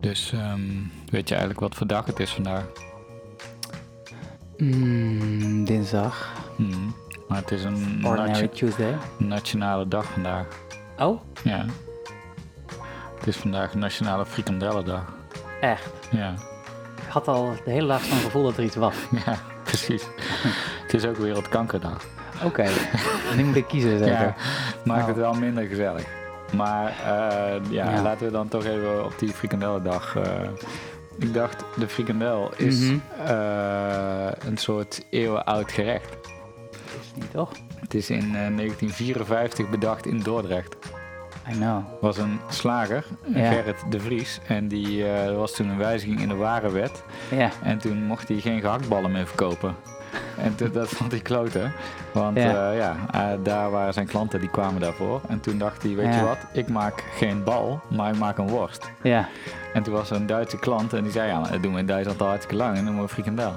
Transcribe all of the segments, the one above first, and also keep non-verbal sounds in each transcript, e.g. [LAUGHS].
Dus ehm, weet je eigenlijk wat voor dag het is vandaag? Mm, dinsdag. Hmm. Maar het is een Ordinary nati- Tuesday. nationale dag vandaag. Oh, Ja. Het is vandaag Nationale Frikandellendag. echt. Ja. [LAUGHS] Ik had al de hele dag zo'n gevoel dat er iets was. Ja, precies. het is ook Wereldkankerdag. Oké, [LAUGHS] nu moet ik kiezen zeker. Ja, maakt Nou. het wel minder gezellig. Maar eh, ja, Ja. laten we dan toch even op die frikandellendag. eh, ik dacht, de frikandel is Mhm. eh, een soort eeuwenoud gerecht. Is niet toch? Het is in eh, 1954 bedacht in Dordrecht. I know. was een slager, Ja. Gerrit de Vries. En die eh, er was toen een wijziging in de warenwet. Ja, En toen mocht hij geen gehaktballen meer verkopen. [LAUGHS] En toen- dat vond hij kloten. Want Ja. ja, ja eh, daar waren zijn klanten, die kwamen daarvoor. En toen dacht hij, weet Ja. je wat, ik maak geen bal, maar ik maak een worst. ja. En toen was er een Duitse klant en die zei, ja, maar dat doen we in Duitsland al hartstikke lang en noemen we frikandel.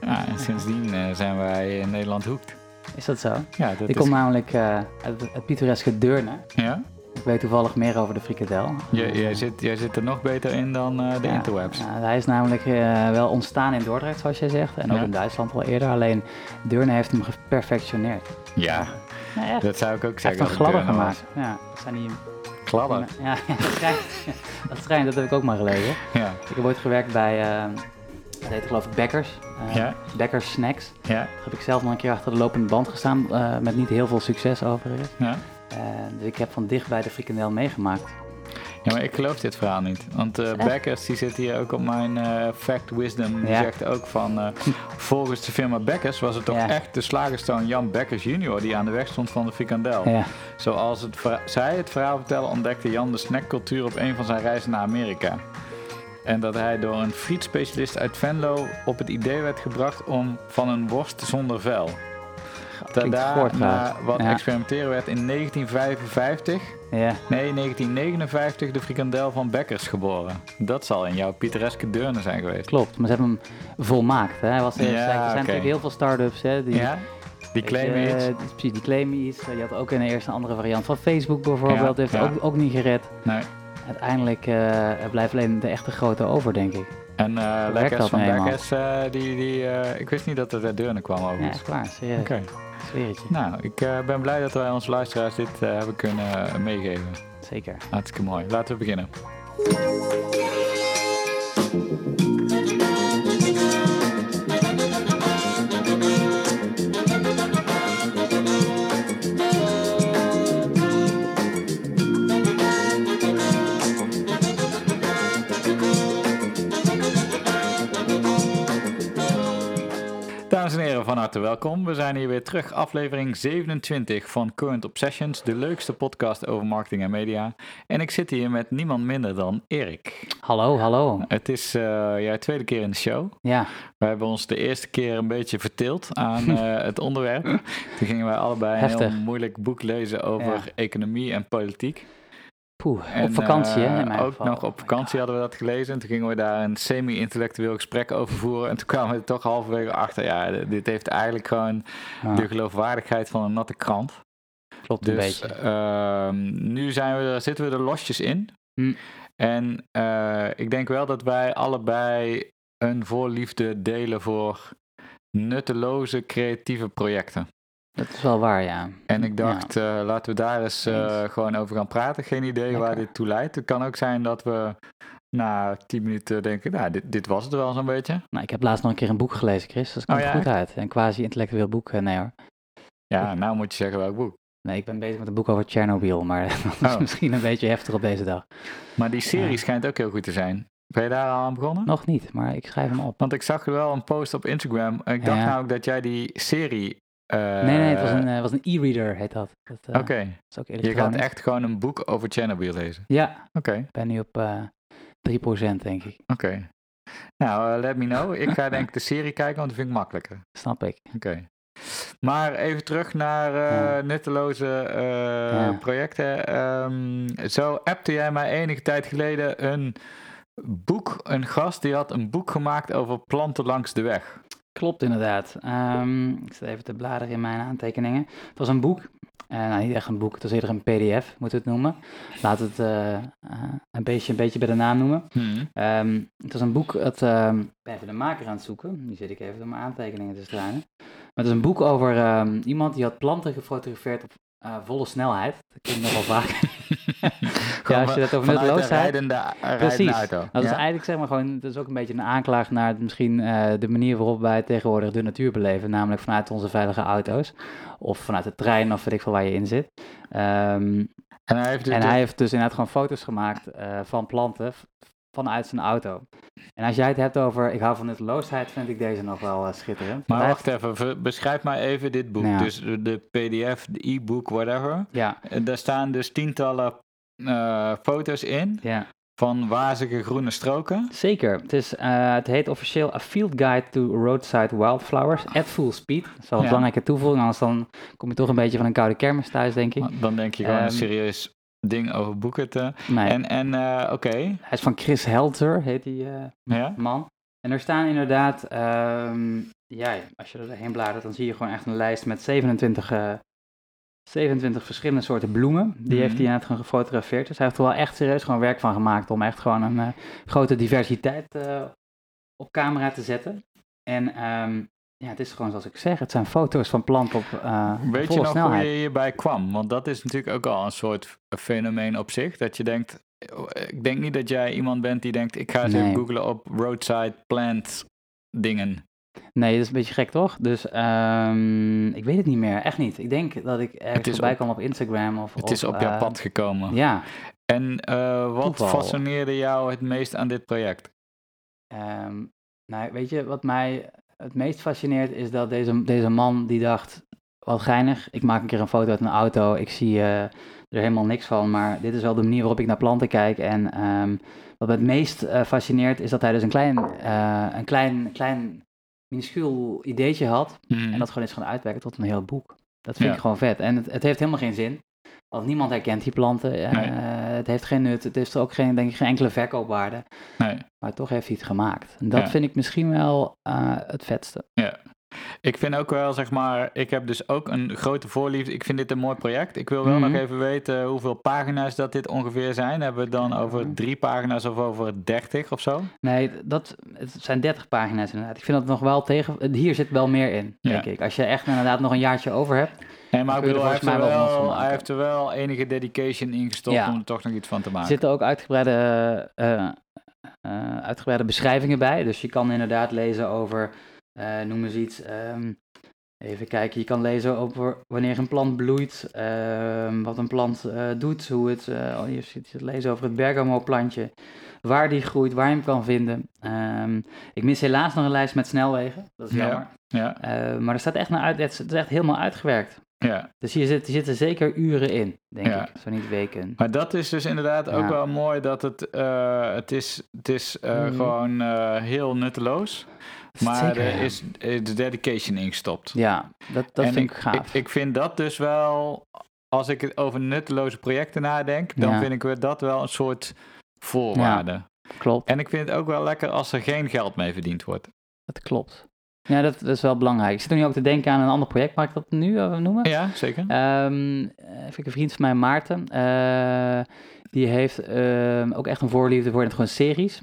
Ja, en sindsdien eh, zijn wij in Nederland hoekt. Is dat zo? Ja, dat ik is... kom namelijk eh, uit het pittoreske Deurne. Ja? Ik weet toevallig meer over de frikandel. J- jij, zit, jij zit er nog beter in dan eh, de Ja, interwebs. ja, hij is namelijk eh, wel ontstaan in Dordrecht, zoals jij zegt. En ook Ja. in Duitsland al eerder. Alleen Deurne heeft hem geperfectioneerd. Ja, Nou, echt. [LAUGHS] dat zou ik ook Hij zeggen. heeft hem als ik gladder Deurne was. gemaakt. Ja, dat zijn die... Gladder? Ja, [LAUGHS] dat schijnt, dat schijnt, dat heb ik ook maar gelezen. Ja. Ik heb ooit gewerkt bij, eh, dat heette geloof ik Bekkers. eh, Ja. Bekkers Snacks. Ja, Daar heb ik zelf nog een keer achter de lopende band gestaan, eh, met niet heel veel succes overigens. ja. Eh, dus ik heb van dichtbij de frikandel meegemaakt. Ja, maar ik geloof dit verhaal niet. Want eh Beckers die zit hier ook op mijn eh, Fact Wisdom. Die Ja. zegt ook van, eh, volgens de firma Beckers was het toch Ja. echt de slagerstoon Jan Beckers junior die aan de weg stond van de frikandel. Ja. Zoals het ver- zij het verhaal vertellen, ontdekte Jan de snackcultuur op een van zijn reizen naar Amerika. En dat hij door een frietspecialist uit Venlo op het idee werd gebracht om van een worst zonder vel. Dat klinkt daar gehoord na gehad. wat Ja. experimenteren werd in 1955 Ja, Nee, 1959 de frikandel van Bekkers geboren. Dat zal in jouw pittoreske deurne zijn geweest. klopt. Maar ze hebben hem volmaakt. Hè. Hij was, er Ja, zijn, er zijn oké. natuurlijk heel veel start-ups hè, die, Ja? Die weet je, claimen iets. eh, Precies, die claimen iets. Je had ook in de eerste een andere variant van Facebook bijvoorbeeld. Ja, heeft ja. Ook, ook niet gered. Nee. Uiteindelijk eh, blijft alleen de echte grote over, denk ik. En eh werkt Lekkers dat van nou eenmaal? Bekkers, eh, die, die, eh, ik wist niet dat het uit deurne kwam Ja, overigens. echt waar. Serieus. Oké. Zweer het je. Nou, ik eh, ben blij dat wij onze luisteraars dit eh, hebben kunnen eh, meegeven. Zeker. Hartstikke mooi. Laten we beginnen. Dames en heren, van harte welkom. We zijn hier weer terug, aflevering 27 van Current Obsessions, de leukste podcast over marketing en media. En ik zit hier met niemand minder dan Erik. Hallo, hallo. Het is eh, jouw tweede keer in de show. Ja, We hebben ons de eerste keer een beetje vertild [LAUGHS] aan eh, het onderwerp. Toen gingen wij allebei een heel Heftig. moeilijk boek lezen over Ja. economie en politiek. poeh. En, op vakantie, hè? eh, In mijn ook geval. Oh nog op vakantie hadden we dat gelezen. En toen gingen we daar een semi-intellectueel gesprek over voeren. En toen kwamen we er toch halverwege achter. Ja, d- dit heeft eigenlijk gewoon Oh, Ja, de geloofwaardigheid van een natte krant. klopt een Dus beetje. ehm, nu zijn we er, zitten we er losjes in. Hm. En eh, ik denk wel dat wij allebei een voorliefde delen voor nutteloze creatieve projecten. Dat is wel waar, ja. eh, En ik dacht, eh, laten we daar eens eh, gewoon over gaan praten. Geen idee waar Lekker. dit toe leidt. Het kan ook zijn dat we na tien minuten denken, nou, dit, dit was het wel zo'n beetje. Nou, ik heb laatst nog een keer een boek gelezen, Chris. Dat komt Oh, ja, goed uit. Een quasi-intellectueel boek. eh, Nee hoor. Ja, nou moet je zeggen welk boek. Nee, ik ben bezig met een boek over Tsjernobyl, maar [LAUGHS] dat is Oh. misschien een beetje heftig op deze dag. Maar die serie Ja. schijnt ook heel goed te zijn. Ben je daar al aan begonnen? Nog niet, maar ik schrijf hem op. Want ik zag wel een post op Instagram. En ik dacht Ja. namelijk dat jij die serie. eh, nee, nee, het was een, eh, was een e-reader, heet dat. dat eh, Oké, is ook je gaat elektronisch. echt gewoon een boek over Chernobyl lezen. Ja, Oké, ik ben nu op eh 3% denk ik. oké. Nou, eh, let me know. Ik [LAUGHS] ga denk ik de serie kijken, want dat vind ik makkelijker. Snap ik. Oké. Maar even terug naar eh, Ja. nutteloze eh, Ja. projecten. Ehm, zo appte jij mij enige tijd geleden een boek, een gast die had een boek gemaakt over planten langs de weg. Klopt inderdaad. Ehm, ik zit even te bladeren in mijn aantekeningen. Het was een boek eh, nou, niet echt een boek, het is eerder een PDF, moet het noemen. Laat het eh, eh, een, beetje, een beetje bij de naam noemen. Hmm. Ehm, het is een boek, dat, ehm, ik ben even de maker aan het zoeken. Nu zit ik even door mijn aantekeningen te struinen. Maar het is een boek over ehm, iemand die had planten gefotografeerd op eh, volle snelheid. Dat klinkt nogal vaak. ja, als je dat over Vanuit de nutteloosheid... rijdende, rijdende Precies. auto. Nou, Dat is ja. eigenlijk zeg maar gewoon, dat is ook een beetje een aanklaag naar misschien eh, de manier waarop wij tegenwoordig de natuur beleven, namelijk vanuit onze veilige auto's of vanuit de trein of weet ik veel waar je in zit. Ehm, En hij heeft dus en hij heeft dus inderdaad gewoon foto's gemaakt eh, van planten v- vanuit zijn auto. En als jij het hebt over, ik hou van nutteloosheid, vind ik deze nog wel eh, schitterend. Maar Hij wacht even, ver- beschrijf maar even dit boek. Nou ja. Dus de, de PDF, de e-book, whatever. heeft- Ja, Eh, Daar staan dus tientallen eh, foto's in ja. van wazige groene stroken. Zeker. Het, is, eh, het heet officieel A Field Guide to Roadside Wildflowers at Full Speed. Dat is wel een Ja. belangrijke toevoeging, anders dan kom je toch een beetje van een koude kermis thuis, denk ik. Dan denk je gewoon Ehm. een serieus ding over boeken te... Nee. En, en eh, oké, Hij is van Chris Helter, heet die eh, ja. man. En er staan inderdaad, ehm, ja, als je er doorheen bladert, dan zie je gewoon echt een lijst met 27, eh, 27 verschillende soorten bloemen. Die Mhm. heeft hij inderdaad gewoon gefotografeerd. Dus hij heeft er wel echt serieus gewoon werk van gemaakt om echt gewoon een eh, grote diversiteit eh, op camera te zetten. En ehm, ja, het is gewoon zoals ik zeg, het zijn foto's van planten op eh Weet je volle nog snelheid. hoe je hierbij kwam? Want dat is natuurlijk ook al een soort fenomeen op zich. Dat je denkt, eh, ik denk niet dat jij iemand bent die denkt, ik ga eens Nee. even googlen op roadside plant dingen. Nee, dat is een beetje gek, toch? Dus ehm, ik weet het niet meer, echt niet. Ik denk dat ik ergens is voorbij op- kwam op Instagram of Het of, is op jouw eh, pad gekomen. Ja, En eh, wat Toeval. fascineerde jou het meest aan dit project? Ehm, nou, weet je, wat mij het meest fascineert is dat deze, deze man die dacht, wat geinig, ik maak een keer een foto uit een auto, ik zie eh, er helemaal niks van, maar dit is wel de manier waarop ik naar planten kijk. En ehm, wat me het meest eh, fascineert is dat hij dus een klein, eh, een klein, klein minuscuul ideetje had Hmm. en dat gewoon is gaan uitwerken tot een heel boek. Dat vind Mhm. Ja. ik gewoon vet. En het, het heeft helemaal geen zin. Want niemand herkent die planten. eh, Nee. het heeft geen nut. Het is er ook geen, denk ik, geen enkele verkoopwaarde. Nee. Maar toch heeft hij het gemaakt. En dat Ja. vind ik misschien wel eh, het vetste. Ik vind ook wel, zeg maar, ik heb dus ook een grote voorliefde. Ik vind dit een mooi project. Ik wil wel Mhm. nog even weten hoeveel pagina's dat dit ongeveer zijn. Hebben we het dan Mhm. over drie pagina's of over dertig of zo? Nee, dat, het zijn 30 pagina's inderdaad. Ik vind dat nog wel tegen. Hier zit wel meer in, Ja. denk ik. Als je echt inderdaad nog een jaartje over hebt. Nee, maar ik kun je bedoel, hij er volgens heeft, er mij wel nog van wel, hij maken. heeft er wel enige dedication in gestopt Ja. om er toch nog iets van te maken. zitten ook uitgebreide, eh, eh, uitgebreide beschrijvingen bij. Dus je kan inderdaad lezen over. eh, noem eens iets. ehm, even kijken. Je kan lezen over wanneer een plant bloeit. ehm, wat een plant eh, doet. Hoe het. eh, oh, je zit je lezen over het bergamo-plantje. Waar die groeit, waar je hem kan vinden. Ehm, ik mis helaas nog een lijst met snelwegen. Dat is Ja. jammer. Ja, Eh, maar er staat echt naar uit. Het is, het is echt helemaal uitgewerkt. ja. Dus hier zit, zitten zeker uren in, denk Ja. ik. Zo niet weken. Maar dat is dus inderdaad ook Ja. wel mooi dat het, eh, het is, het is eh, Mhm. gewoon eh, heel nutteloos. Dat is Maar zeker, er ja. is, is de dedication ingestopt. Ja, dat, dat En vind ik gaaf. Ik, ik vind dat dus wel, als ik het over nutteloze projecten nadenk, dan Ja. vind ik we- dat wel een soort voorwaarde. Klopt, En ik vind het ook wel lekker als er geen geld mee verdiend wordt. dat klopt. Ja, dat, dat is wel belangrijk. Ik zit nu ook te denken aan een ander project. Mag ik dat nu eh, noemen? Ja, zeker. Ehm, eh, even een vriend van mij, Maarten. eh, die heeft ehm, ook echt een voorliefde voor in het gewoon series.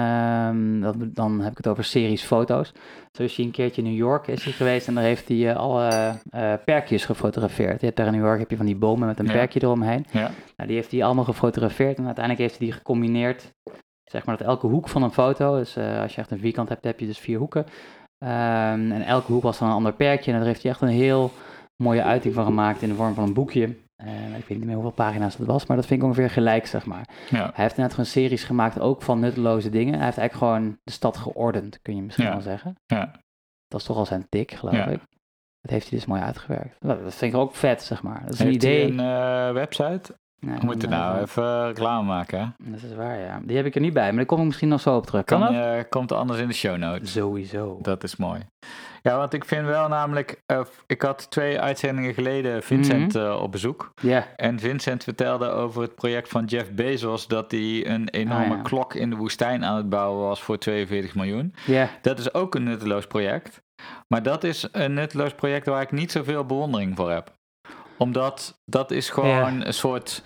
Ehm, dat, dan heb ik het over series foto's. Zo is hij een keertje in New York is hij geweest en daar heeft hij eh, alle eh, perkjes gefotografeerd. Je hebt daar in New York heb je van die bomen met een Ja. perkje eromheen. Ja. Nou, die heeft hij allemaal gefotografeerd en uiteindelijk heeft hij die gecombineerd. Zeg maar dat elke hoek van een foto, dus eh, als je echt een vierkant hebt, heb je dus vier hoeken. Ehm, en elke hoek was dan een ander perkje en daar heeft hij echt een heel mooie uiting van gemaakt in de vorm van een boekje. Eh, ik weet niet meer hoeveel pagina's dat was, maar dat vind ik ongeveer gelijk, zeg maar. Ja. Hij heeft inderdaad gewoon series gemaakt, ook van nutteloze dingen. Hij heeft eigenlijk gewoon de stad geordend, kun je misschien Ja. wel zeggen. Ja. Dat is toch al zijn tik, geloof Ja. ik. Dat heeft hij dus mooi uitgewerkt. Nou, Dat vind ik ook vet, zeg maar. Dat is Heeft een idee. hij een eh, website? Nee, We moeten nee, nou dat- even reclame maken. hè? Dat is waar, ja. Die heb ik er niet bij, maar daar kom ik misschien nog zo op terug. Kan, Kan, dat? eh, komt anders in de show notes. Sowieso. Dat is mooi. Ja, want ik vind wel namelijk... eh, ik had twee uitzendingen geleden Vincent Mhm. eh, op bezoek. Ja, En Vincent vertelde over het project van Jeff Bezos dat hij een enorme Ah, ja. klok in de woestijn aan het bouwen was voor 42 miljoen. ja. Dat is ook een nutteloos project. Maar dat is een nutteloos project waar ik niet zoveel bewondering voor heb. Omdat dat is gewoon een soort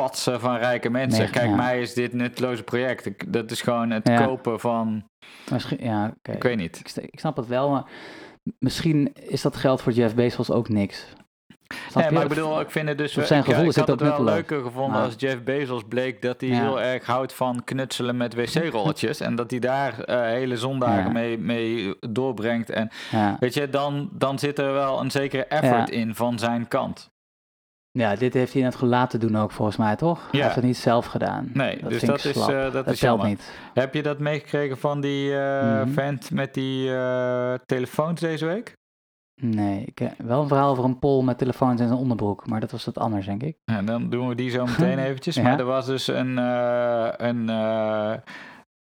patsen van rijke mensen. Nee, Kijk, ja. mij is dit een nutteloze project. Ik- dat is gewoon het Ja. kopen van, Misschien, ja, oké. ik weet niet. Ik, sta- ik snap het wel, maar misschien is dat geld voor Jeff Bezos ook niks. Snap Nee, je? maar ik bedoel, ik vind het dus... op zijn ik- gevoel ik, is had het het ook wel nutteloos. leuker gevonden Maar- als Jeff Bezos bleek dat hij Ja. heel erg houdt van knutselen met wc-rolletjes. en dat hij daar eh, hele zondagen Ja. mee, mee doorbrengt. En Ja. weet je, dan, dan zit er wel een zekere effort in van zijn kant. ja, dit heeft hij net goed laten doen ook volgens mij, toch? Hij Ja. heeft het niet zelf gedaan. Nee, dus vind dat ik is, slap. eh, dat dat is telt jammer. niet. Heb je dat meegekregen van die eh, Mhm. vent met die eh, telefoons deze week? Nee, ik, eh, wel een verhaal over een pol met telefoons en zijn onderbroek, maar dat was wat anders, denk ik. Ja, dan doen we die zo meteen [LAUGHS] eventjes. Ja. Maar er was dus een, eh, een, eh,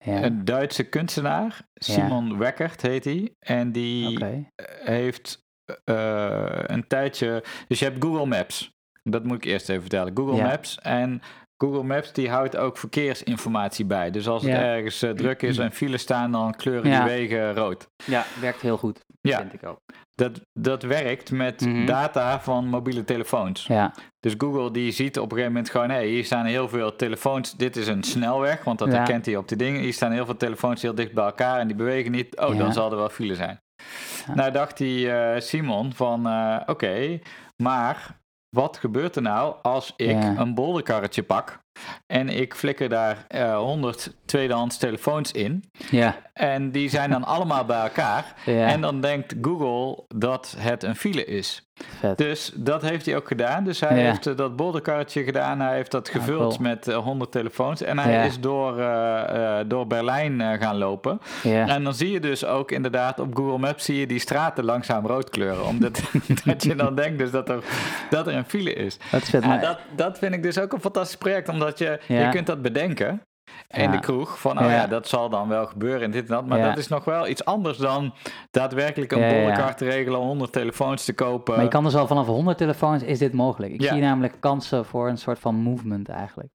Ja, een Duitse kunstenaar, Simon Weckert heet hij. En die oké. heeft eh, een tijdje... Dus je hebt Google Maps. Dat moet ik eerst even vertellen. Google Ja. Maps en... Google Maps die houdt ook verkeersinformatie bij. Dus als Ja. het ergens eh, druk [CLEARS THROAT] is en files staan, dan kleuren Ja. die wegen rood. Ja, werkt heel goed, Ja, vind ik ook. dat, dat werkt met Mhm. data van mobiele telefoons. Ja, Dus Google die ziet op een gegeven moment gewoon, hé, hier staan heel veel telefoons. Dit is een snelweg, want dat Ja. herkent hij op de dingen. Hier staan heel veel telefoons heel dicht bij elkaar en die bewegen niet. Oh, Ja. dan zal er wel file zijn. Ja. Nou dacht die eh, Simon van, eh, oké, maar wat gebeurt er nou als ik Ja. een bolderkarretje pak en ik flikker daar eh 100 tweedehands telefoons in ja, en die zijn [LAUGHS] dan allemaal bij elkaar ja. en dan denkt Google dat het een file is. vet. Dus dat heeft hij ook gedaan. Dus hij Ja. Ah, heeft eh, dat bolderkaartje gedaan. Hij heeft dat gevuld cool. met eh, 100 telefoons. En hij Ja. is door, eh, eh, door Berlijn eh, gaan lopen. Ja. En dan zie je dus ook inderdaad op Google Maps... zie je die straten langzaam rood kleuren. Omdat [LAUGHS] [LAUGHS] dat je dan denkt dus dat, er, dat er een file is. Dat is vet, En maar dat, dat vind ik dus ook een fantastisch project. Omdat je, Ja. je kunt dat bedenken in Ja. de kroeg. Van, oh Ja. ja. dat zal dan wel gebeuren en dit en dat. Maar Ja. dat is nog wel iets anders dan... daadwerkelijk een Ja, ja, ja. bolderkaart te regelen... 100 telefoons te kopen. Maar je kan dus al vanaf 100 telefoons is dit mogelijk. Ik eh, Ja. zie namelijk kansen voor een soort van movement eigenlijk.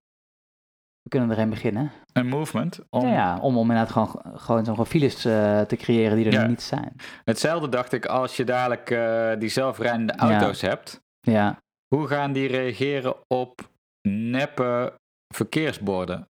We kunnen erin beginnen. Een movement. Om... Om, ja, ja, om, om inderdaad gewoon, gewoon zo'n files eh, te creëren die er Ja. niet zijn. Hetzelfde dacht ik als je dadelijk eh, die zelfrijdende auto's hebt. Ja, Hoe gaan die reageren op neppe verkeersborden?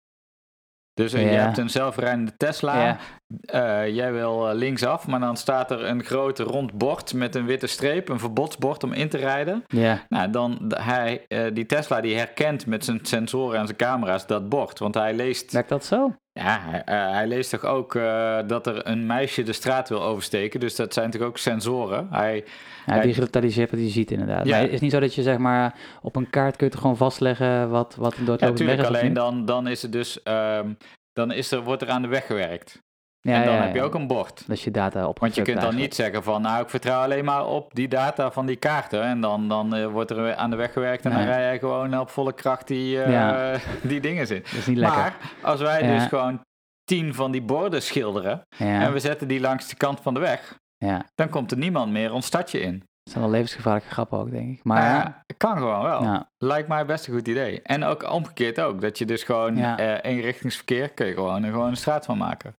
Dus eh, je Ja. hebt een zelfrijdende Tesla. ja, eh, jij wil eh, linksaf, maar dan staat er een groot rond bord met een witte streep, een verbodsbord om in te rijden. ja, Nou, dan d- hij, eh, die Tesla die herkent met zijn sensoren en zijn camera's dat bord, want hij leest werkt dat zo? Ja, hij, eh, hij leest toch ook eh, dat er een meisje de straat wil oversteken. Dus dat zijn toch ook sensoren. Hij, Ja, Ja. digitaliseert wat je ziet inderdaad. Ja. Maar het is niet zo dat je zeg maar op een kaart kunt gewoon vastleggen wat, wat een ja, doodlopende weg natuurlijk, is. of alleen dan, niet. dan is het dus. ehm, dan is er, wordt er aan de weg gewerkt. Ja, en dan ja, heb je ja. ook een bord. Dat is je data op. Want je kunt dan niet zeggen van, nou, ik vertrouw alleen maar op die data van die kaarten. En dan, dan eh, wordt er aan de weg gewerkt en Nee. dan rij je gewoon op volle kracht die, eh, Ja. [LAUGHS] die dingen in. Dat is niet lekker. Maar als wij Ja. dus gewoon tien van die borden schilderen ja, en we zetten die langs de kant van de weg, ja. dan komt er niemand meer ons stadje in. Dat zijn wel levensgevaarlijke grappen ook, denk ik. Maar Nou ja, kan gewoon wel. ja, Lijkt mij best een goed idee. En ook omgekeerd ook. Dat je dus gewoon Ja. eh eenrichtingsverkeer kun je gewoon er gewoon een straat van maken.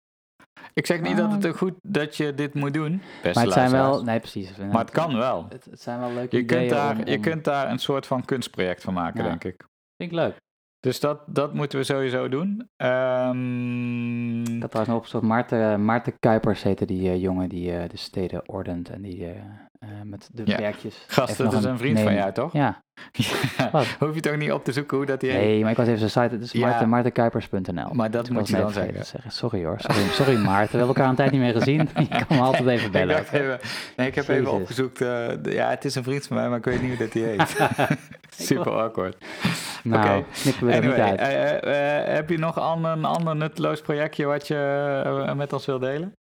Ik zeg niet dat het een goed dat je dit moet doen. Beste Oh. maar het zijn wel... luisteraars. Nee, precies. Maar het kan wel. Het, het zijn wel leuke Je ideeën. kunt, daar, om- je om- kunt daar een soort van kunstproject van maken, Ja. denk ik. Vind ik leuk. Dus dat, dat moeten we sowieso doen. Ehm, Ik had trouwens nog op zo'n Maarten, Maarten Kuipers heette die eh, jongen die eh, de steden ordent en die eh, eh, met de Ja. werkjes... gast, even dat nog is een vriend van name- jou, toch? Ja, [LAUGHS] Wat? Hoef je toch niet op te zoeken hoe dat hij heet? nee, maar ik was even zijn site, het is Ja. Maarten, maartenkuipers.nl. Maar dat Ik moet was je het dan even vergeten zeggen. te Sorry hoor, sorry, sorry Maarten, we hebben elkaar een tijd niet meer [LAUGHS] gezien. Je kan me altijd even Ik, bellen. dacht even, nee, ik heb even Jezus. opgezoekt. eh, d- ja, het is een vriend van mij, maar ik weet niet hoe dat [LAUGHS] hij heet. Super awkward. nou, oké. knippen we er Anyway, niet uit. eh, eh, eh, heb je nog an- een ander nutteloos projectje wat je eh, met ons wil delen?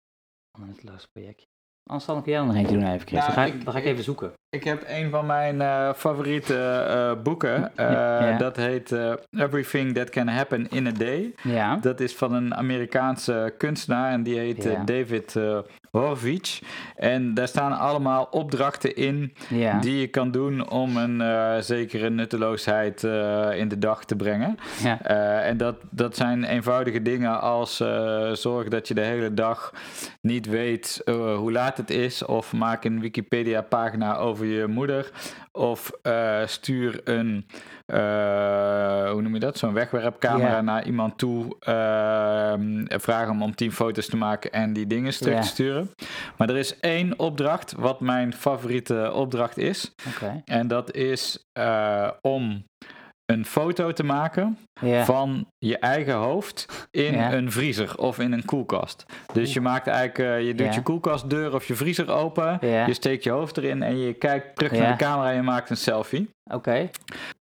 Een nutteloos projectje. Anders dan kun jij er nog eentje doen even, Chris. Nou, dan, ga ik, ik- dan ga ik ik- even zoeken. Ik heb een van mijn eh, favoriete eh, boeken. Eh, Ja. Dat heet eh, Everything That Can Happen in a Day. Ja, Dat is van een Amerikaanse kunstenaar en die heet eh, Ja. David eh, Horowitz. En daar staan allemaal opdrachten in ja, die je kan doen om een eh, zekere nutteloosheid eh, in de dag te brengen. ja. Eh, en dat, dat zijn eenvoudige dingen als eh, zorg dat je de hele dag niet weet eh, hoe laat het is. Of maak een Wikipedia pagina over je moeder. Of eh, stuur een, eh, hoe noem je dat, zo'n wegwerpcamera Ja. naar iemand toe. ehm, en vraag hem om tien foto's te maken en die dingen terug Ja. te sturen. Maar er is één opdracht wat mijn favoriete opdracht is. Oké. En dat is eh, om een foto te maken Ja. van je eigen hoofd in Ja. een vriezer of in een koelkast. Dus je maakt eigenlijk, eh, je doet Ja. je koelkastdeur of je vriezer open. Ja. Je steekt je hoofd erin en je kijkt terug Ja. naar de camera en je maakt een selfie. Oké.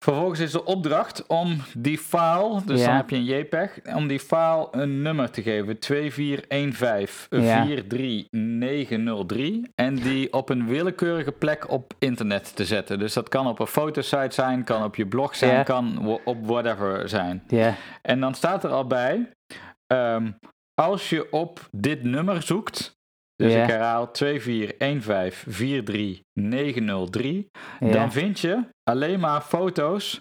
Vervolgens is de opdracht om die file, dus Ja. dan heb je een JPEG, om die file een nummer te geven. 2415 Ja. 43903. En die op een willekeurige plek op internet te zetten. Dus dat kan op een fotosite zijn, kan op je blog zijn, Ja. kan wo- op whatever zijn. Ja. En dan staat er al bij, ehm, als je op dit nummer zoekt, dus Ja. ik herhaal 2415-43903, Ja. dan vind je alleen maar foto's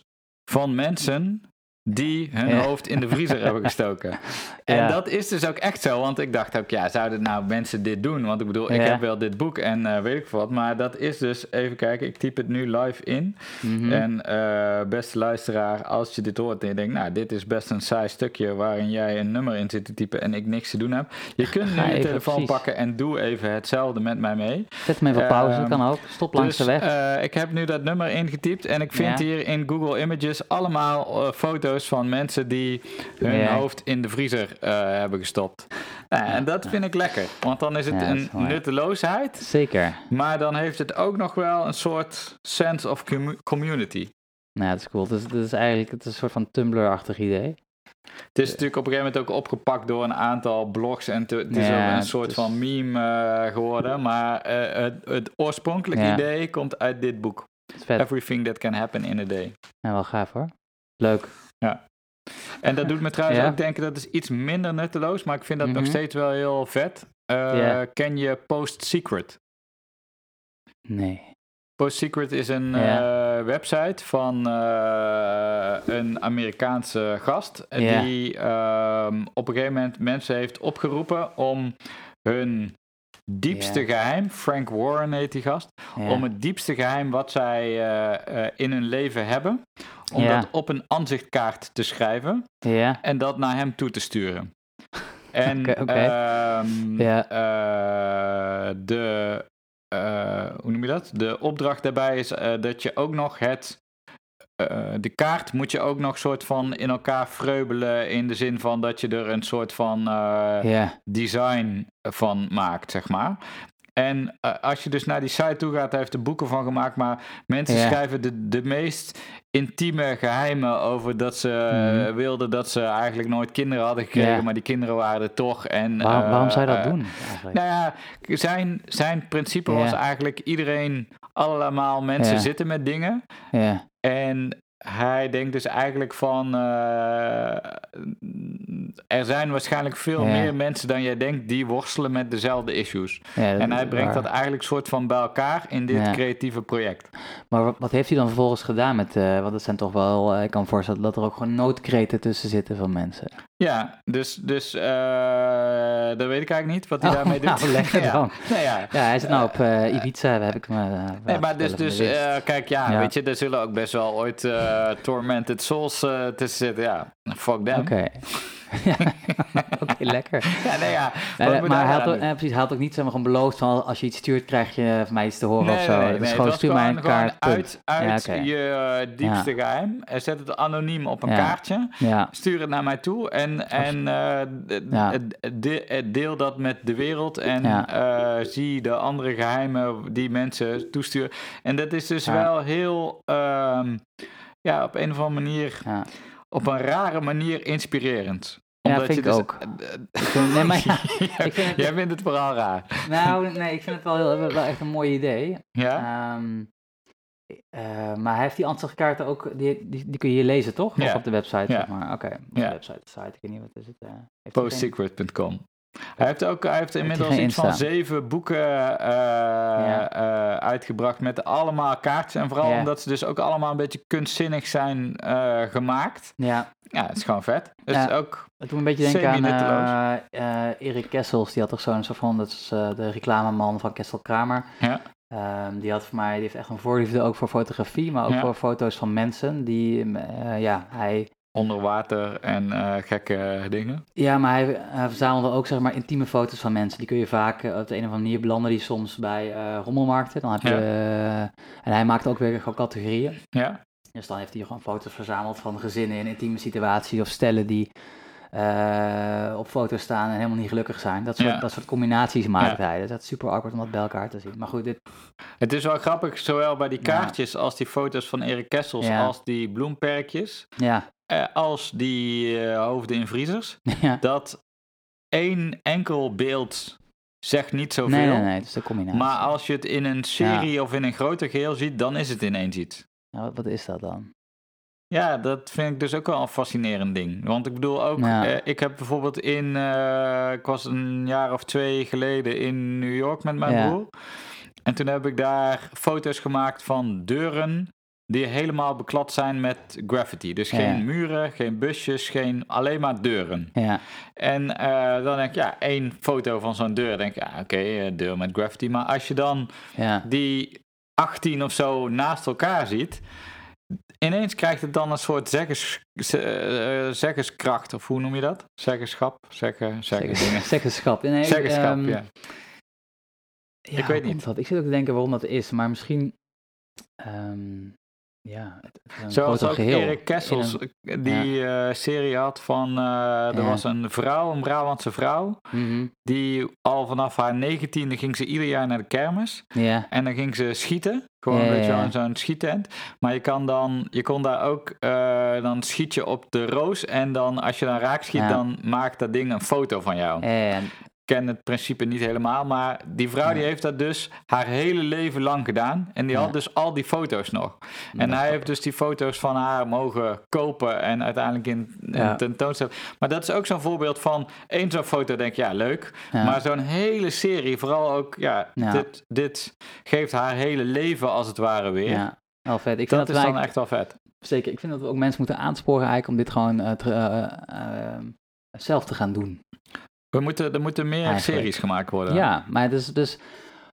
van mensen die hun Ja. hoofd in de vriezer [LAUGHS] hebben gestoken. En Ja. dat is dus ook echt zo, want ik dacht ook, ja, zouden nou mensen dit doen? Want ik bedoel, ik Ja. heb wel dit boek en eh, weet ik wat, maar dat is dus, even kijken, ik typ het nu live in. Mhm. En eh, beste luisteraar, als je dit hoort en je denkt, nou, dit is best een saai stukje waarin jij een nummer in zit te typen en ik niks te doen heb. [LAUGHS] Je kunt nu Ga je even, telefoon precies. pakken en doe even hetzelfde met mij mee. Zet hem even op pauze, Ehm, kan ook. Stop langs dus de weg. eh, ik heb nu dat nummer ingetypt en ik vind Ja. hier in Google Images allemaal eh, foto's van mensen die hun Ja. hoofd in de vriezer eh, hebben gestopt. Nou, en dat vind ik lekker, want dan is het Ja, dat is een mooi. nutteloosheid, Zeker. maar dan heeft het ook nog wel een soort sense of commu- community. Nou, dat is cool. Dat is, dat is eigenlijk het is een soort van Tumblr-achtig idee. Het Eh. is natuurlijk op een gegeven moment ook opgepakt door een aantal blogs en te- het is Ja, ook een het soort is- van meme eh, geworden. Maar eh, het, het oorspronkelijke Ja. idee komt uit dit boek. Dat is vet. Everything that can happen in a day. Nou, wel gaaf hoor. Leuk. En dat doet me trouwens Ja. ook denken, dat is iets minder nutteloos, maar ik vind dat nog Mhm. steeds wel heel vet. Eh, Ja. Ken je Post Secret? Nee. Post Secret is een Ja. eh, website van eh, een Amerikaanse gast eh, Ja. die ehm, op een gegeven moment mensen heeft opgeroepen om hun diepste Ja. geheim, Frank Warren heet die gast, Ja. om het diepste geheim wat zij eh, eh, in hun leven hebben, om Ja. dat op een aanzichtkaart te schrijven Ja. en dat naar hem toe te sturen. [LAUGHS] En Oké, oké. ehm, Ja. eh, de, eh, hoe noem je dat? De opdracht daarbij is eh, dat je ook nog het, eh, de kaart moet je ook nog soort van in elkaar freubelen in de zin van dat je er een soort van eh, Ja. design van maakt, zeg maar. En eh, als je dus naar die site toe gaat, hij heeft er boeken van gemaakt, maar mensen Ja. schrijven de, de meest intieme geheimen over dat ze eh, Mhm. wilden dat ze eigenlijk nooit kinderen hadden gekregen, Ja. maar die kinderen waren er toch. En, Waarom, eh, waarom zou je dat eh, doen eigenlijk? nou ja, zijn, zijn principe Ja. was eigenlijk iedereen, allemaal mensen Ja. zitten met dingen. Ja. En hij denkt dus eigenlijk van. eh, er zijn waarschijnlijk veel Ja. meer mensen dan jij denkt die worstelen met dezelfde issues. Ja, En hij brengt waar. dat eigenlijk soort van bij elkaar in dit Ja. creatieve project. Maar wa- wat heeft hij dan vervolgens gedaan met... eh, want dat zijn toch wel... eh, ik kan me voorstellen dat er ook gewoon noodkreten tussen zitten van mensen. Ja, dus, dus eh, dat weet ik eigenlijk niet wat hij Oh, daarmee doet. [LAUGHS] nou, [LAUGHS] lekker ja. dan. Nou ja. Ja, hij zit nou op eh, Ibiza, daar heb ik me... eh, laten Nee, maar dus, vertellen van de dus winst. eh, kijk, ja, Ja. weet je, er zullen ook best wel ooit eh, Tormented Souls eh, tussen zitten. Ja, fuck them. Oké. Ja, Oké, [LAUGHS] lekker. [LAUGHS] Ja, nee, ja. Nee, wat nee, moet maar hij daar hij had, aan ook, doen? eh, precies, hij had ook niet zomaar gewoon beloofd van als je iets stuurt krijg je van mij iets te horen of zo. dat is het gewoon was stuur mij een gewoon- gewoon kaart. punt. Uit, uit Ja, oké. je eh, diepste geheim. Eh, Zet het anoniem op een Ja. kaartje. Ja, Stuur het naar mij toe en, en eh, d- Ja. d- de- eh, deel dat met de wereld. En Ja. eh, zie de andere geheimen die mensen toesturen. En dat is dus Ja. wel heel, ehm, ja, op een of andere manier, ja. op een rare manier inspirerend. Ja, Omdat vind je ik dus- [LAUGHS] ook. Ik vind- nee, maar ja, [LAUGHS] ik vind het, Jij vindt het vooral raar. nou, nee, ik vind het wel, heel, wel echt een mooi idee. Ja? Ehm, eh, maar hij heeft die ansichtkaarten ook, die, die, die kun je hier lezen toch? Of Ja. op de website, Ja. zeg maar. Oké, op de Ja. website, site, ik weet niet wat is het. eh, heeft hij geen- Postsecret.com. Hij heeft ook hij heeft inmiddels geen iets van Insta? zeven boeken eh, eh, uitgebracht met allemaal kaartjes. En vooral Ja. omdat ze dus ook allemaal een beetje kunstzinnig zijn eh, gemaakt. Ja, Ja, het is gewoon vet. Dus Ja. ook, het doet me een beetje denken aan Semi-nutteloos. eh, eh, Erik Kessels. Die had toch zo'n soort van, dat is eh, de reclameman van Kessel Kramer. Ja. Ehm, die had voor mij, die heeft echt een voorliefde ook voor fotografie, maar ook Ja. voor foto's van mensen. Die, eh, ja, hij, Onder water en eh, gekke dingen. ja, maar hij, hij verzamelde ook zeg maar intieme foto's van mensen. Die kun je vaak eh, op de een of andere manier belanden die soms bij eh, rommelmarkten. Dan heb je, Ja. eh, en hij maakt ook weer gewoon categorieën. Ja, Dus dan heeft hij gewoon foto's verzameld van gezinnen in intieme situaties of stellen die eh, op foto's staan en helemaal niet gelukkig zijn. Dat soort, Ja. dat soort combinaties maakt hij. Dus dat is super awkward om dat bij elkaar te zien. Maar goed, dit, Het is wel grappig, zowel bij die Ja. kaartjes als die foto's van Erik Kessels, Ja. als die bloemperkjes, ja, [LAUGHS] eh, als die eh, hoofden in vriezers, ja. dat één enkel beeld zegt niet zoveel. Nee, nee, nee, het is de combinatie. Maar als je het in een serie of in een groter geheel ziet, dan is het ineens iets. Nou, wat, wat is dat dan? Ja, dat vind ik dus ook wel een fascinerend ding. Want ik bedoel ook, Ja. eh, ik heb bijvoorbeeld in, eh, ik was een jaar of twee geleden in New York met mijn Ja. broer. En toen heb ik daar foto's gemaakt van deuren die helemaal beklad zijn met graffiti. Dus Ja. geen muren, geen busjes, geen, alleen maar deuren. Ja, En eh, dan denk ik, ja, één foto van zo'n deur. denk ik, ja, oké, eh, deur met graffiti. Maar als je dan ja, die 18 of zo naast elkaar ziet, ineens krijgt het dan een soort zeggers, ze- eh, zeggerskracht, of hoe noem je dat? Zeggenschap? Zeggen, zeggen dingen. Zeggers- zeggenschap. [LAUGHS] Nee, ik, Zeggenschap, ehm, ja. Ik ja, hoe weet niet. komt Dat? Ik zit ook te denken waarom dat is, maar misschien... ehm, ja, het, het is een Zoals groter ook geheel. Erik Kessels, In die eh, serie had van, eh, er Ja. was een vrouw, een Brabantse vrouw, Mhm, die al vanaf haar negentiende ging ze ieder jaar naar de kermis. Ja, En dan ging ze schieten. Gewoon Ja, een beetje ja, ja. aan zo'n schiettent. Maar je, kan dan, je kon daar ook, eh, dan schiet je op de roos. En dan als je dan raak schiet, Ja. dan maakt dat ding een foto van jou. en Ik ken het principe niet helemaal. Maar die vrouw die Ja. heeft dat dus haar hele leven lang gedaan. En die Ja. had dus al die foto's nog. dat En is hij heeft dus die foto's van haar mogen kopen en uiteindelijk in een Ja. tentoonstelling. Maar dat is ook zo'n voorbeeld van één zo'n foto denk je, ja leuk. Ja. Maar zo'n hele serie, vooral ook, ja, Ja. Dit, dit geeft haar hele leven als het ware weer. ja, wel vet. Ik vind Dat dat, is wij dan echt wel vet. zeker. Ik vind dat we ook mensen moeten aansporen eigenlijk om dit gewoon eh, te- eh, eh, zelf te gaan doen. We moeten, er moeten meer Eigenlijk. series gemaakt worden. Ja, maar het is dus...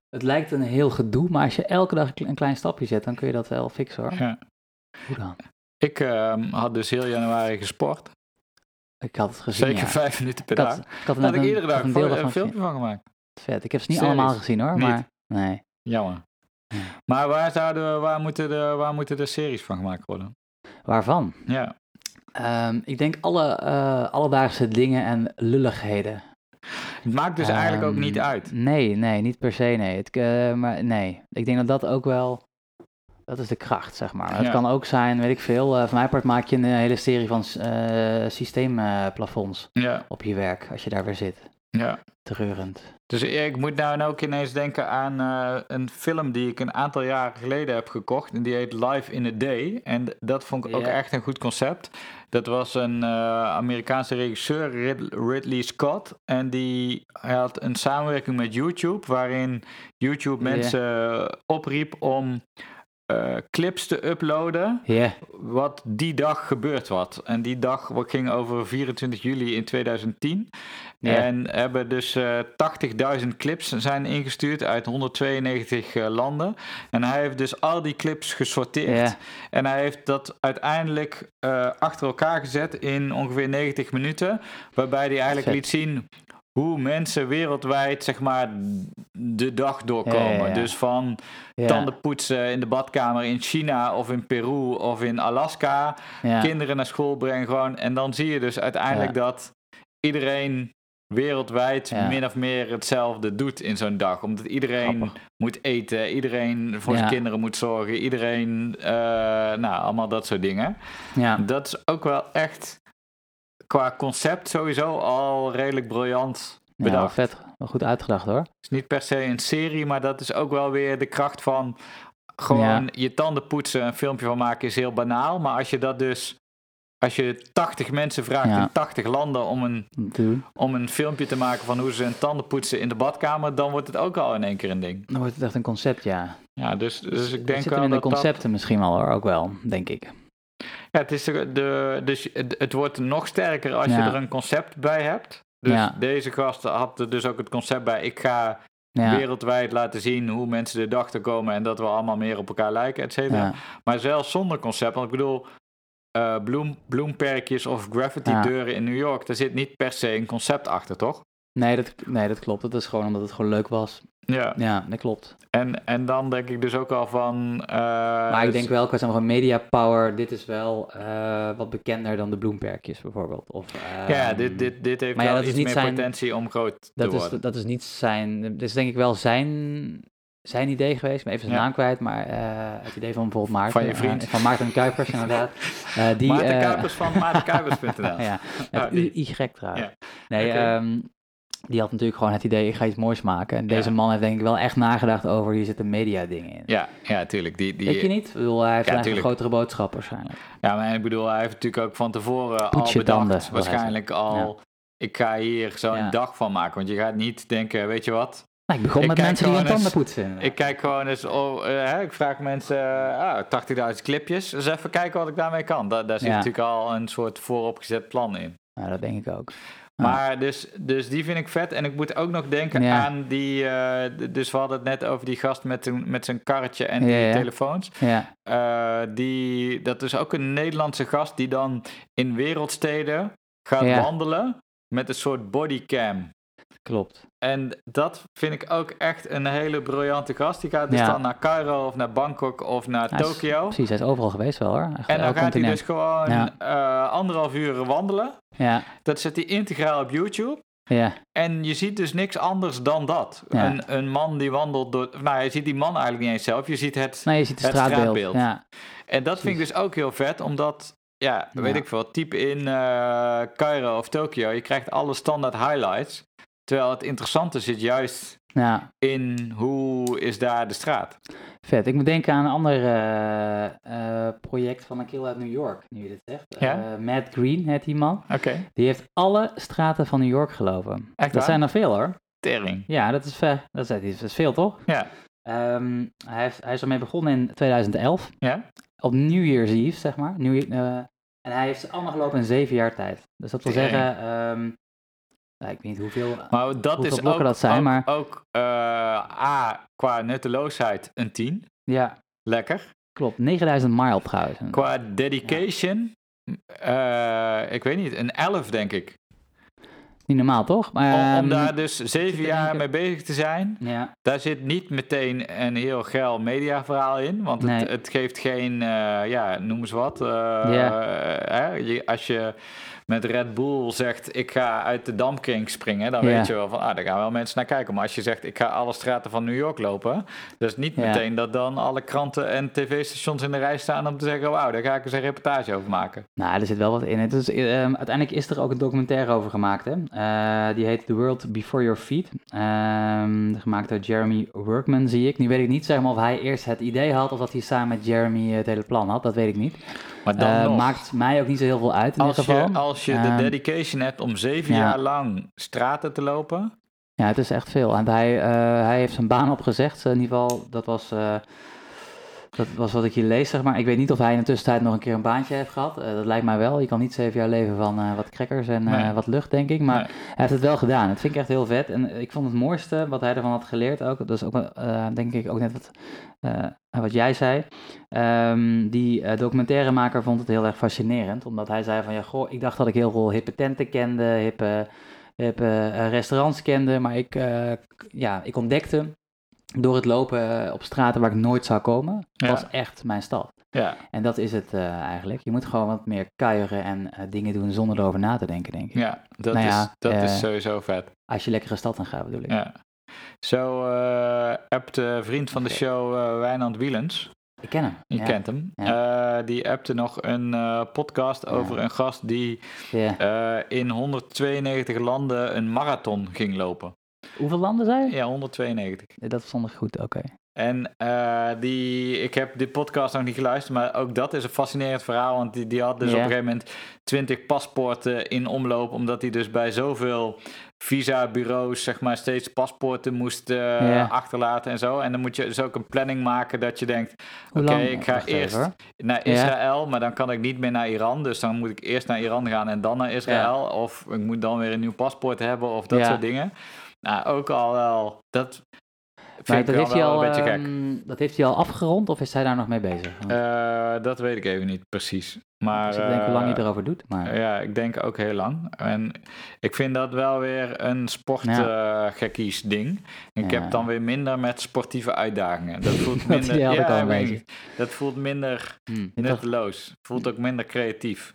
Het lijkt een heel gedoe, maar als je elke dag een kle- een klein stapje zet, dan kun je dat wel fixen hoor. Ja. Hoe dan? Ik ehm, had dus heel januari gesport. Ik had het gezien. Zeker ja. vijf minuten per Ik dag. had, ik had Daar net had ik een, iedere had dag een voor- deel een daarvan filmpje van gemaakt. gezien. Vet. Ik heb ze niet Serieus? allemaal gezien hoor, Niet. maar nee. Jammer. Ja. Maar waar, zouden we, waar, moeten de, waar moeten de series van gemaakt worden? Waarvan? Ja. Ehm, ik denk alle eh, alledaagse dingen en lulligheden. Het maakt dus eigenlijk ook Ehm, niet uit. Nee, nee, niet per se nee. Het, eh, maar nee, ik denk dat dat ook wel... Dat is de kracht, zeg maar. Maar Het Ja. kan ook zijn, weet ik veel. eh van mijn part maak je een hele serie van eh, systeemplafonds Ja, op je werk, als je daar weer zit. ja. Treurend. Dus ik moet nou ook ineens denken aan eh, een film die ik een aantal jaren geleden heb gekocht. En die heet Live in a Day. En dat vond ik ook Ja. echt een goed concept. Dat was een eh, Amerikaanse regisseur, Rid- Ridley Scott. En die hij had een samenwerking met YouTube. Waarin YouTube Ja. mensen opriep om eh, clips te uploaden Ja, wat die dag gebeurd was. En die dag wat ging over 24 juli in 2010. Ja. En hebben dus eh, 80.000 clips zijn ingestuurd uit 192 eh, landen. En hij heeft dus al die clips gesorteerd. Ja. En hij heeft dat uiteindelijk eh, achter elkaar gezet in ongeveer 90 minuten. Waarbij hij eigenlijk Vet. liet zien hoe mensen wereldwijd zeg maar de dag doorkomen. Ja, ja, ja. Dus van ja, tanden poetsen in de badkamer in China of in Peru of in Alaska. ja. Kinderen naar school brengen gewoon. En dan zie je dus uiteindelijk dat iedereen wereldwijd Ja. min of meer hetzelfde doet in zo'n dag. Omdat iedereen Grappig. moet eten, iedereen voor zijn Ja. kinderen moet zorgen, iedereen, eh, nou, allemaal dat soort dingen. ja. Dat is ook wel echt qua concept sowieso al redelijk briljant Ja, wel bedacht. vet. Wel goed uitgedacht hoor. Het is niet per se een serie, maar dat is ook wel weer de kracht van gewoon Ja. je tanden poetsen, een filmpje van maken is heel banaal. Maar als je dat dus, als je 80 mensen vraagt Ja. in 80 landen om een, om te doen. om een filmpje te maken van hoe ze hun tanden poetsen in de badkamer, dan wordt het ook al in één keer een ding. Dan wordt het echt een concept, ja. Ja, dus, dus ik Het denk zit wel hem in de dat dat- concepten misschien wel hoor, ook wel, denk ik. ja, het, is de, de- dus het, het wordt nog sterker als je Ja. er een concept bij hebt. Dus Ja. deze gast had er dus ook het concept bij, ik ga Ja. wereldwijd laten zien hoe mensen de dag te komen en dat we allemaal meer op elkaar lijken, et cetera. ja. Maar zelfs zonder concept, want ik bedoel, eh, bloem, bloemperkjes of graffiti Ja. deuren in New York, daar zit niet per se een concept achter, toch? Nee, dat, nee, dat klopt. Dat is gewoon omdat het gewoon leuk was. Ja. Ja, dat klopt. En, en dan denk ik dus ook al van. eh, maar ik dus- denk wel, qua zeg maar, media power, dit is wel eh, wat bekender dan de bloemperkjes bijvoorbeeld. Of, Ja, ehm, dit, dit, dit heeft maar ja, wel dat is iets niet meer zijn- potentie om groot Dat te is, worden. dat is niet zijn. Dat is denk ik wel zijn, zijn idee geweest. Ik ben even zijn Ja. naam kwijt. Maar eh, het idee van bijvoorbeeld Maarten. Van je vriend. eh, van Maarten Kuipers, inderdaad. [LAUGHS] Eh, die, Maarten eh, Kuipers [LAUGHS] van maartenkuipers.nl. ja, Ah, met die. U- Y trouwens. Ja. Nee, Oké. ehm, die had natuurlijk gewoon het idee, ik ga iets moois maken. En deze Ja. man heeft denk ik wel echt nagedacht over, hier zitten media dingen in. Ja, ja, tuurlijk. Die, die, Denk je niet? Ik bedoel, hij heeft Ja, eigenlijk tuurlijk. een grotere boodschap waarschijnlijk. Ja, maar ik bedoel, hij heeft natuurlijk ook van tevoren Poets al je bedacht, tanden, wil hij waarschijnlijk al, ik ga hier zo'n Ja. dag van maken. Want je gaat niet denken, weet je wat, Nou, ik begon Ik met kijk mensen die hun gewoon tanden eens- poetsen. ik kijk gewoon eens, oh, eh, hè, ik vraag mensen eh, ah, 80.000 clipjes, dus even kijken wat ik daarmee kan. Da daar zit Ja. natuurlijk al een soort vooropgezet plan in. Nou, dat denk ik ook. Ah. Maar dus, dus die vind ik vet. En ik moet ook nog denken Ja. aan die. eh, d- dus we hadden het net over die gast met, een- met zijn karretje en Ja, die ja. telefoons. Ja, Eh, die, dat is ook een Nederlandse gast die dan in wereldsteden gaat Ja. wandelen met een soort bodycam. klopt. En dat vind ik ook echt een hele briljante gast. Die gaat dus Ja. dan naar Cairo of naar Bangkok of naar Hij is- Tokio. Precies, hij is overal geweest wel hoor. Echt En dan gaat elk hij continent. dus gewoon Ja. eh, anderhalf uur wandelen. Ja, Dat zet hij integraal op YouTube. ja. En je ziet dus niks anders dan dat. Ja. Een, een man die wandelt door. Nou, je ziet die man eigenlijk niet eens zelf. Je ziet het. Nee, Nou, je ziet het Het straatbeeld. straatbeeld. Ja. En dat vind ik dus ook heel vet, omdat. Ja, weet Ja. ik veel. Type in eh, Cairo of Tokio. Je krijgt alle standaard highlights. Terwijl het interessante zit juist ja, in hoe is daar de straat. vet. Ik moet denken aan een ander eh, eh, project van een kerel uit New York, nu je dit zegt. Ja? Eh, Matt Green heet die man. Oké. Die heeft alle straten van New York gelopen. Echt dat waar? zijn er veel hoor. Tering. Ja, dat is, ve- dat is, dat is veel toch? Ja. Ehm, hij, heeft, hij is ermee begonnen in 2011. Ja? Op New Year's Eve, zeg maar. New Year- eh, en hij heeft ze allemaal gelopen in zeven jaar tijd. Dus dat wil Tering. zeggen, ehm, nou, ik weet niet hoeveel. Maar dat Hoeveel is ook, blokken dat zijn, ook, maar- ook eh, A, qua nutteloosheid een 10. Ja, Lekker. klopt. 9000 mile trouwens. Qua dedication, eh, ik weet niet, een 11 denk ik. Niet normaal toch? Maar, Om, om ehm, daar dus zeven te jaar denken. mee bezig te zijn, Ja, daar zit niet meteen een heel geil mediaverhaal in. Want Nee. het, het geeft geen, eh, ja, noem eens wat. eh, hè, je- als je met Red Bull zegt, ik ga uit de Damkring springen, dan Ja. weet je wel van, ah, daar gaan wel mensen naar kijken. Maar als je zegt, ik ga alle straten van New York lopen, dat is niet Ja. meteen dat dan alle kranten en tv-stations in de rij staan om te zeggen, wauw, daar ga ik eens een reportage over maken. nou, er zit wel wat in. Het is, ehm, uiteindelijk is er ook een documentaire over gemaakt. Hè? Eh, die heet The World Before Your Feet. Ehm, gemaakt door Jeremy Workman, zie ik. Nu weet ik niet zeg maar, of hij eerst het idee had of dat hij samen met Jeremy eh, het hele plan had. Dat weet ik niet. Maar dan Eh, nog. Maakt mij ook niet zo heel veel uit in Als ieder je, geval. als je Ehm, de dedication hebt om zeven ja. jaar lang straten te lopen. Ja, het is echt veel. En hij, eh, hij heeft zijn baan opgezegd. eh, In ieder geval, dat was, eh, dat was wat ik hier lees, zeg maar. Ik weet niet of hij in de tussentijd nog een keer een baantje heeft gehad. Eh, dat lijkt mij wel. Je kan niet zeven jaar leven van eh, wat crackers en eh, Nee. wat lucht, denk ik. Maar Nee. hij heeft het wel gedaan. Dat vind ik echt heel vet. En ik vond het mooiste wat hij ervan had geleerd ook. Dat is ook, wel, eh, denk ik, ook net wat, eh, wat jij zei. Ehm, die eh, documentairemaker vond het heel erg fascinerend. Omdat hij zei van, ja, goh, ik dacht dat ik heel veel hippe tenten kende, hippe, hippe eh, restaurants kende. Maar ik, eh, k- ja, ik ontdekte door het lopen eh, op straten waar ik nooit zou komen, Ja. was echt mijn stad. Ja, En dat is het eh, eigenlijk. Je moet gewoon wat meer kuieren en eh, dingen doen zonder erover na te denken, denk ik. ja dat, Nou is, ja, dat eh, is sowieso vet. Als je lekkere stad in gaat, bedoel ik. Ja. Zo eh appte vriend van de show eh, Wijnand Wielens, Ik ken hem. je ja. kent hem, eh, die appte nog een eh, podcast over een gast die Ja. eh, in 192 landen een marathon ging lopen. Hoeveel landen zijn? Ja, 192. Dat stond ik goed, oké. En eh, die, ik heb die podcast nog niet geluisterd, maar ook dat is een fascinerend verhaal. Want die, die had dus Ja. op een gegeven moment 20 paspoorten in omloop. Omdat hij dus bij zoveel visabureaus, zeg maar, steeds paspoorten moest eh, Ja. achterlaten en zo. En dan moet je dus ook een planning maken dat je denkt: Hoe Oké, lang? ik ga Wacht even, eerst- hoor. naar Ja. Israël, maar dan kan ik niet meer naar Iran. Dus dan moet ik eerst naar Iran gaan en dan naar Israël. Of ik moet dan weer een nieuw paspoort hebben of dat Ja. soort dingen. Nou, ook al wel. Dat, Maar vind ik dat heeft, dan hij wel al, een beetje gek. ehm, dat heeft hij al afgerond of is hij daar nog mee bezig? Want Eh, dat weet ik even niet precies. Maar, dus ik denk hoe lang je eh, erover doet. Maar Ja, ik denk ook heel lang. En ik vind dat wel weer een sportgekkies ding. Ik Ja. heb dan weer minder met sportieve uitdagingen. [LAUGHS] Dat voelt Dat minder. had ik al ja, Hmm. een weet beetje. ik. dat voelt minder hm, dit was nutteloos. Voelt ook minder creatief.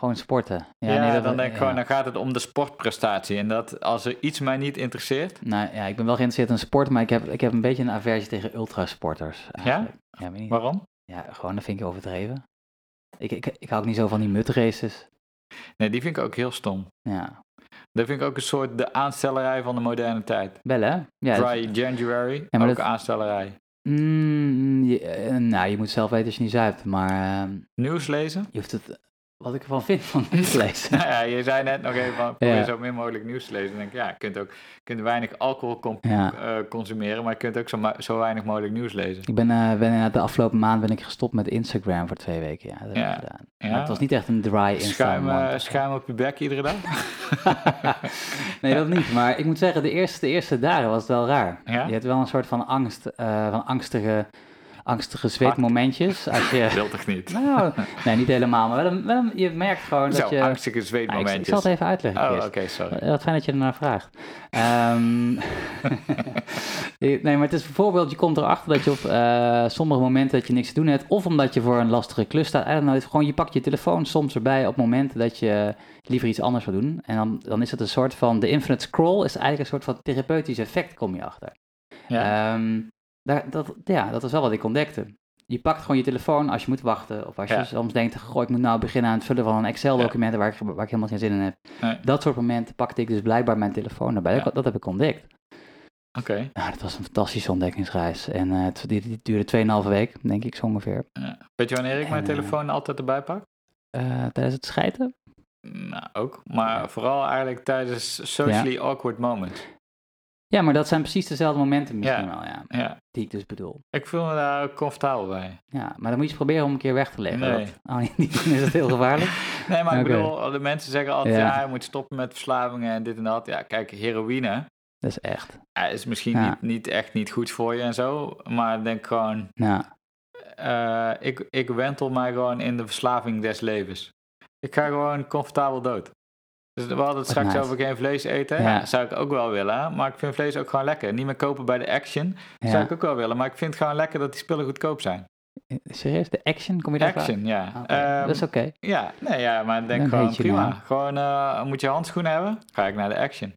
gewoon sporten. Ja, nee, dat- dan denk ik ja. gewoon, dan gaat het om de sportprestatie. En dat als er iets mij niet interesseert. Nou ja, ik ben wel geïnteresseerd in sport, maar ik heb, ik heb een beetje een aversie tegen ultrasporters. eigenlijk. Ja, weet niet. Waarom? ja, gewoon dat vind ik overdreven. Ik, ik, ik hou ook niet zo van die mutraces. Nee, die vind ik ook heel stom. Ja, Dat vind ik ook een soort de aanstellerij van de moderne tijd. wel hè? Ja, dat- Dry January, Ja, maar ook dat- aanstellerij. Mm, je- eh, nou, je moet zelf weten als je niet zuipt, maar ehm, Nieuws lezen? [LAUGHS] je hoeft het, wat ik ervan vind, van niet te lezen. Nou ja, je zei net nog even van probeer Ja. zo min mogelijk nieuws te lezen. Dan denk ik, ja, je kunt ook je kunt weinig alcohol com- Ja. eh, consumeren, maar je kunt ook zo, ma- zo weinig mogelijk nieuws lezen. Ik ben, eh, ben inderdaad de afgelopen maand ben ik gestopt met Instagram voor twee weken. Ja, dat heb ik Ja. gedaan. Ja. Maar het was niet echt een dry schuim, eh, Instagram. schuim op je bek iedere [LAUGHS] dag? nee, dat niet. Maar ik moet zeggen, de eerste, de eerste dagen was het wel raar. Ja? Je hebt wel een soort van angst, eh, van angstige, angstige zweetmomentjes. [LAUGHS] Als je, Wil toch niet? nou, nee, niet helemaal, maar wel een, wel een- je merkt gewoon Zo, dat je... angstige Nou, ik, ik zweetmomentjes. zal het even uitleggen, oh, Kirsten. oké, sorry. Wat fijn dat je ernaar vraagt. Ehm, [LAUGHS] nee, maar het is bijvoorbeeld, je komt erachter dat je op eh, sommige momenten dat je niks te doen hebt, of omdat je voor een lastige klus staat. I don't know, het- gewoon, je pakt je telefoon soms erbij op momenten dat je liever iets anders wil doen. En dan, dan is het een soort van, de infinite scroll is eigenlijk een soort van therapeutisch effect, kom je achter. Ja. Ehm, daar, dat, ja, dat is wel wat ik ontdekte. Je pakt gewoon je telefoon als je moet wachten. Of als je Ja. soms denkt, goh, ik moet nou beginnen aan het vullen van een Excel-document waar, ik, waar ik helemaal geen zin in heb. Nee. Dat soort momenten pakte ik dus blijkbaar mijn telefoon erbij. Ja. Dat, dat heb ik ontdekt. Oké, Nou, dat was een fantastische ontdekkingsreis. En eh, het, die, die duurde 2,5 week, denk ik zo ongeveer. weet je wanneer ik mijn En, eh, telefoon altijd erbij pak? Eh, tijdens het scheiden? Nou, ook. Maar vooral eigenlijk tijdens socially awkward moments. Ja, maar dat zijn precies dezelfde momenten misschien Ja. wel, ja. Ja, Die ik dus bedoel. ik voel me daar ook comfortabel bij. Ja, maar dan moet je eens proberen om een keer weg te leggen. Nee. Dat- oh, nee, dan [LAUGHS] is het heel gevaarlijk. [LAUGHS] Nee, maar ik Oké. bedoel, de mensen zeggen altijd, Ja. ja, je moet stoppen met verslavingen en dit en dat. Ja, kijk, heroïne... Dat is echt. Ja, is misschien Ja. niet, niet echt niet goed voor je en zo. Maar ik denk gewoon, Nou, eh, ik, ik wentel mij gewoon in de verslaving des levens. Ik ga gewoon comfortabel dood. Dus we hadden het straks nice. over geen vlees eten. Ja. Ja, dat zou ik ook wel willen. Maar ik vind vlees ook gewoon lekker. Niet meer kopen bij de Action. ja. Zou ik ook wel willen. Maar ik vind het gewoon lekker dat die spullen goedkoop zijn. Eh, Serieus? De action? Kom je daarop uit? Action, ja. Ah, oké. Ehm, dat is oké. Ja, nee, ja, maar ik denk Dan gewoon weet je prima. nou. Gewoon, eh, moet je handschoenen hebben? Ga ik naar de Action.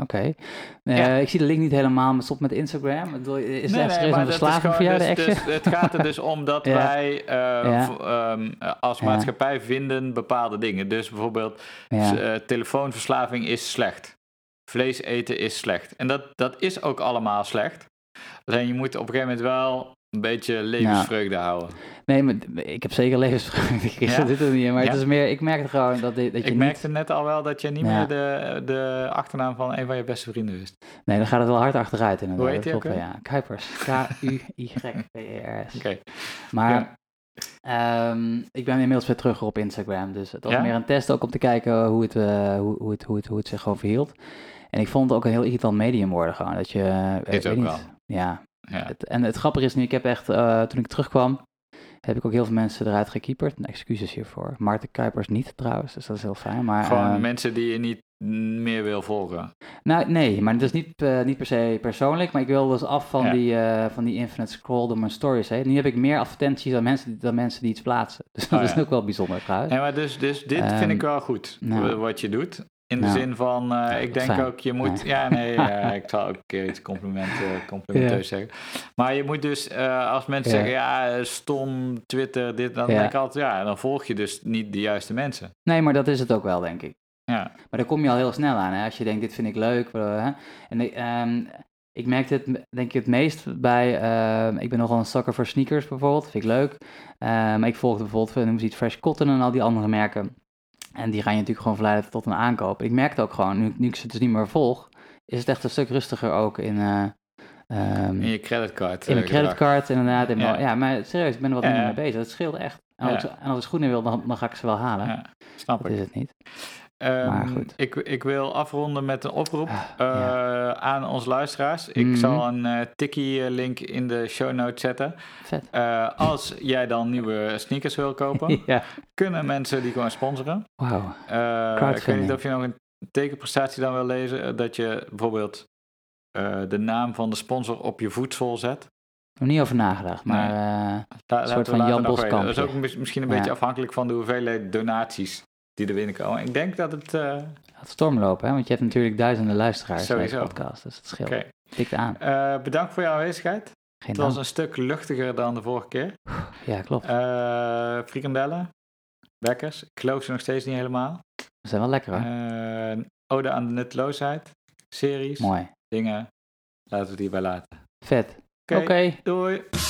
Oké. Eh, ja. Ik zie de link niet helemaal, maar stop met Instagram. Ik bedoel, Is Nee, het echt nee, serieus maar een dat is verslaving voor jou, gewoon de dus- action? dus het gaat [LAUGHS] er dus om dat Ja. wij eh, Ja. v- ehm, eh, als Ja. maatschappij vinden bepaalde dingen. Dus bijvoorbeeld ja. eh, telefoonverslaving is slecht. Vlees eten is slecht. En dat, dat is ook allemaal slecht. Alleen je moet op een gegeven moment wel een beetje levensvreugde houden. Nee, maar d- ik heb zeker levensvraag. [LAUGHS] Ik Ja. zit er niet in, maar het Ja. is meer, ik merkte gewoon dat, dit- dat je Ik niet... merkte net al wel dat je niet Ja. meer de, de achternaam van een van je beste vrienden wist. Nee, dan gaat het wel hard achteruit inderdaad. Hoe heet dat die ook klopt wel, Ja, Kuipers. [LAUGHS] K-U-Y-P-E-R-S. Oké. E Maar ehm, ik ben inmiddels weer terug op Instagram. Dus het was Ja? meer een test ook om te kijken hoe het, eh, hoe, hoe het, hoe het, hoe het zich gewoon verhield. En ik vond het ook een heel irritant medium worden gewoon. Dat je... eh, weet ook niet. wel. Ja, Ja. Het- en het grappige is nu, ik heb echt, eh, toen ik terugkwam, heb ik ook heel veel mensen eruit gekieperd. En excuses hiervoor. Maarten Kuipers niet trouwens, dus dat is heel fijn. Maar, Gewoon eh, mensen die je niet meer wil volgen. nou, nee, maar dat is niet, eh, niet per se persoonlijk, maar ik wil dus af van, Ja. die, eh, van die infinite scroll door mijn stories heen. Nu heb ik meer advertenties dan mensen, dan mensen die iets plaatsen. Dus dat Oh, is ja. ook wel bijzonder trouwens. Ja, maar dus, dus dit Ehm, vind ik wel goed, nou. w- wat je doet. In Nou. de zin van, eh, ik denk fijn. ook, je moet... Nee. Ja, [LAUGHS] nee, eh, ik zal ook een keer iets compliment, eh, complimenteus zeggen. Maar je moet dus, eh, als mensen Ja. zeggen, ja, eh, stom, Twitter, dit, dan Ja. denk ik altijd, ja, dan volg je dus niet de juiste mensen. Nee, maar dat is het ook wel, denk ik. Ja. Maar daar kom je al heel snel aan, hè? als je denkt, dit vind ik leuk. eh, hè. En ik, ehm, ik merkte het, m- denk ik, het meest bij, ehm, ik ben nogal een sucker voor sneakers bijvoorbeeld, vind ik leuk. Eh, maar ik volgde bijvoorbeeld, eh, noem ze iets, Fresh Cotton en al die andere merken. En die gaan je natuurlijk gewoon verleiden tot een aankoop. Ik merkte ook gewoon, nu, nu ik ze dus niet meer volg, is het echt een stuk rustiger ook in... eh, ehm, In je creditcard. in eh, mijn creditcard, inderdaad. In mijn- ja. Ja. maar serieus, ik ben er wat minder Ja. mee bezig. Dat scheelt echt. En als, Ja. ik, en als ik schoenen wil, dan, dan ga ik ze wel halen. gedrag. Ja, snap Dat ik. is het niet. Ehm, Maar goed. Ik, ik wil afronden met een oproep Ah, eh, ja. aan onze luisteraars. Ik Mhm. zal een eh Tiki-link in de show notes zetten. Vet. Eh, als jij dan nieuwe sneakers wil kopen, [LAUGHS] ja. kunnen mensen die gewoon sponsoren. Wauw. Eh ik weet Crowdfunding. niet of je nog een tekenprestatie dan wil lezen. eh, Dat je bijvoorbeeld eh, de naam van de sponsor op je voedsel zet. Nog niet over nagedacht, maar eh, Da- soort laten we van later Jan nog weten. Dat is Boskampje. ook mis- misschien een Ja. beetje afhankelijk van de hoeveelheid donaties die er binnenkomen. Ik denk dat het... eh, het stormlopen, hè? Want je hebt natuurlijk duizenden luisteraars bij deze Sowieso. podcast, dus dat Oké. scheelt. Tikt aan. Eh, bedankt voor jouw aanwezigheid. Geen Het was dank. een stuk luchtiger dan de vorige keer. Ja, klopt. Eh, frikandellen, bekkers. Ik geloof ze nog steeds niet helemaal. Ze zijn wel lekker hoor. Eh, ode aan de nutteloosheid. Series, Mooi. dingen. Laten we het hierbij laten. Vet. Oké, Oké. doei.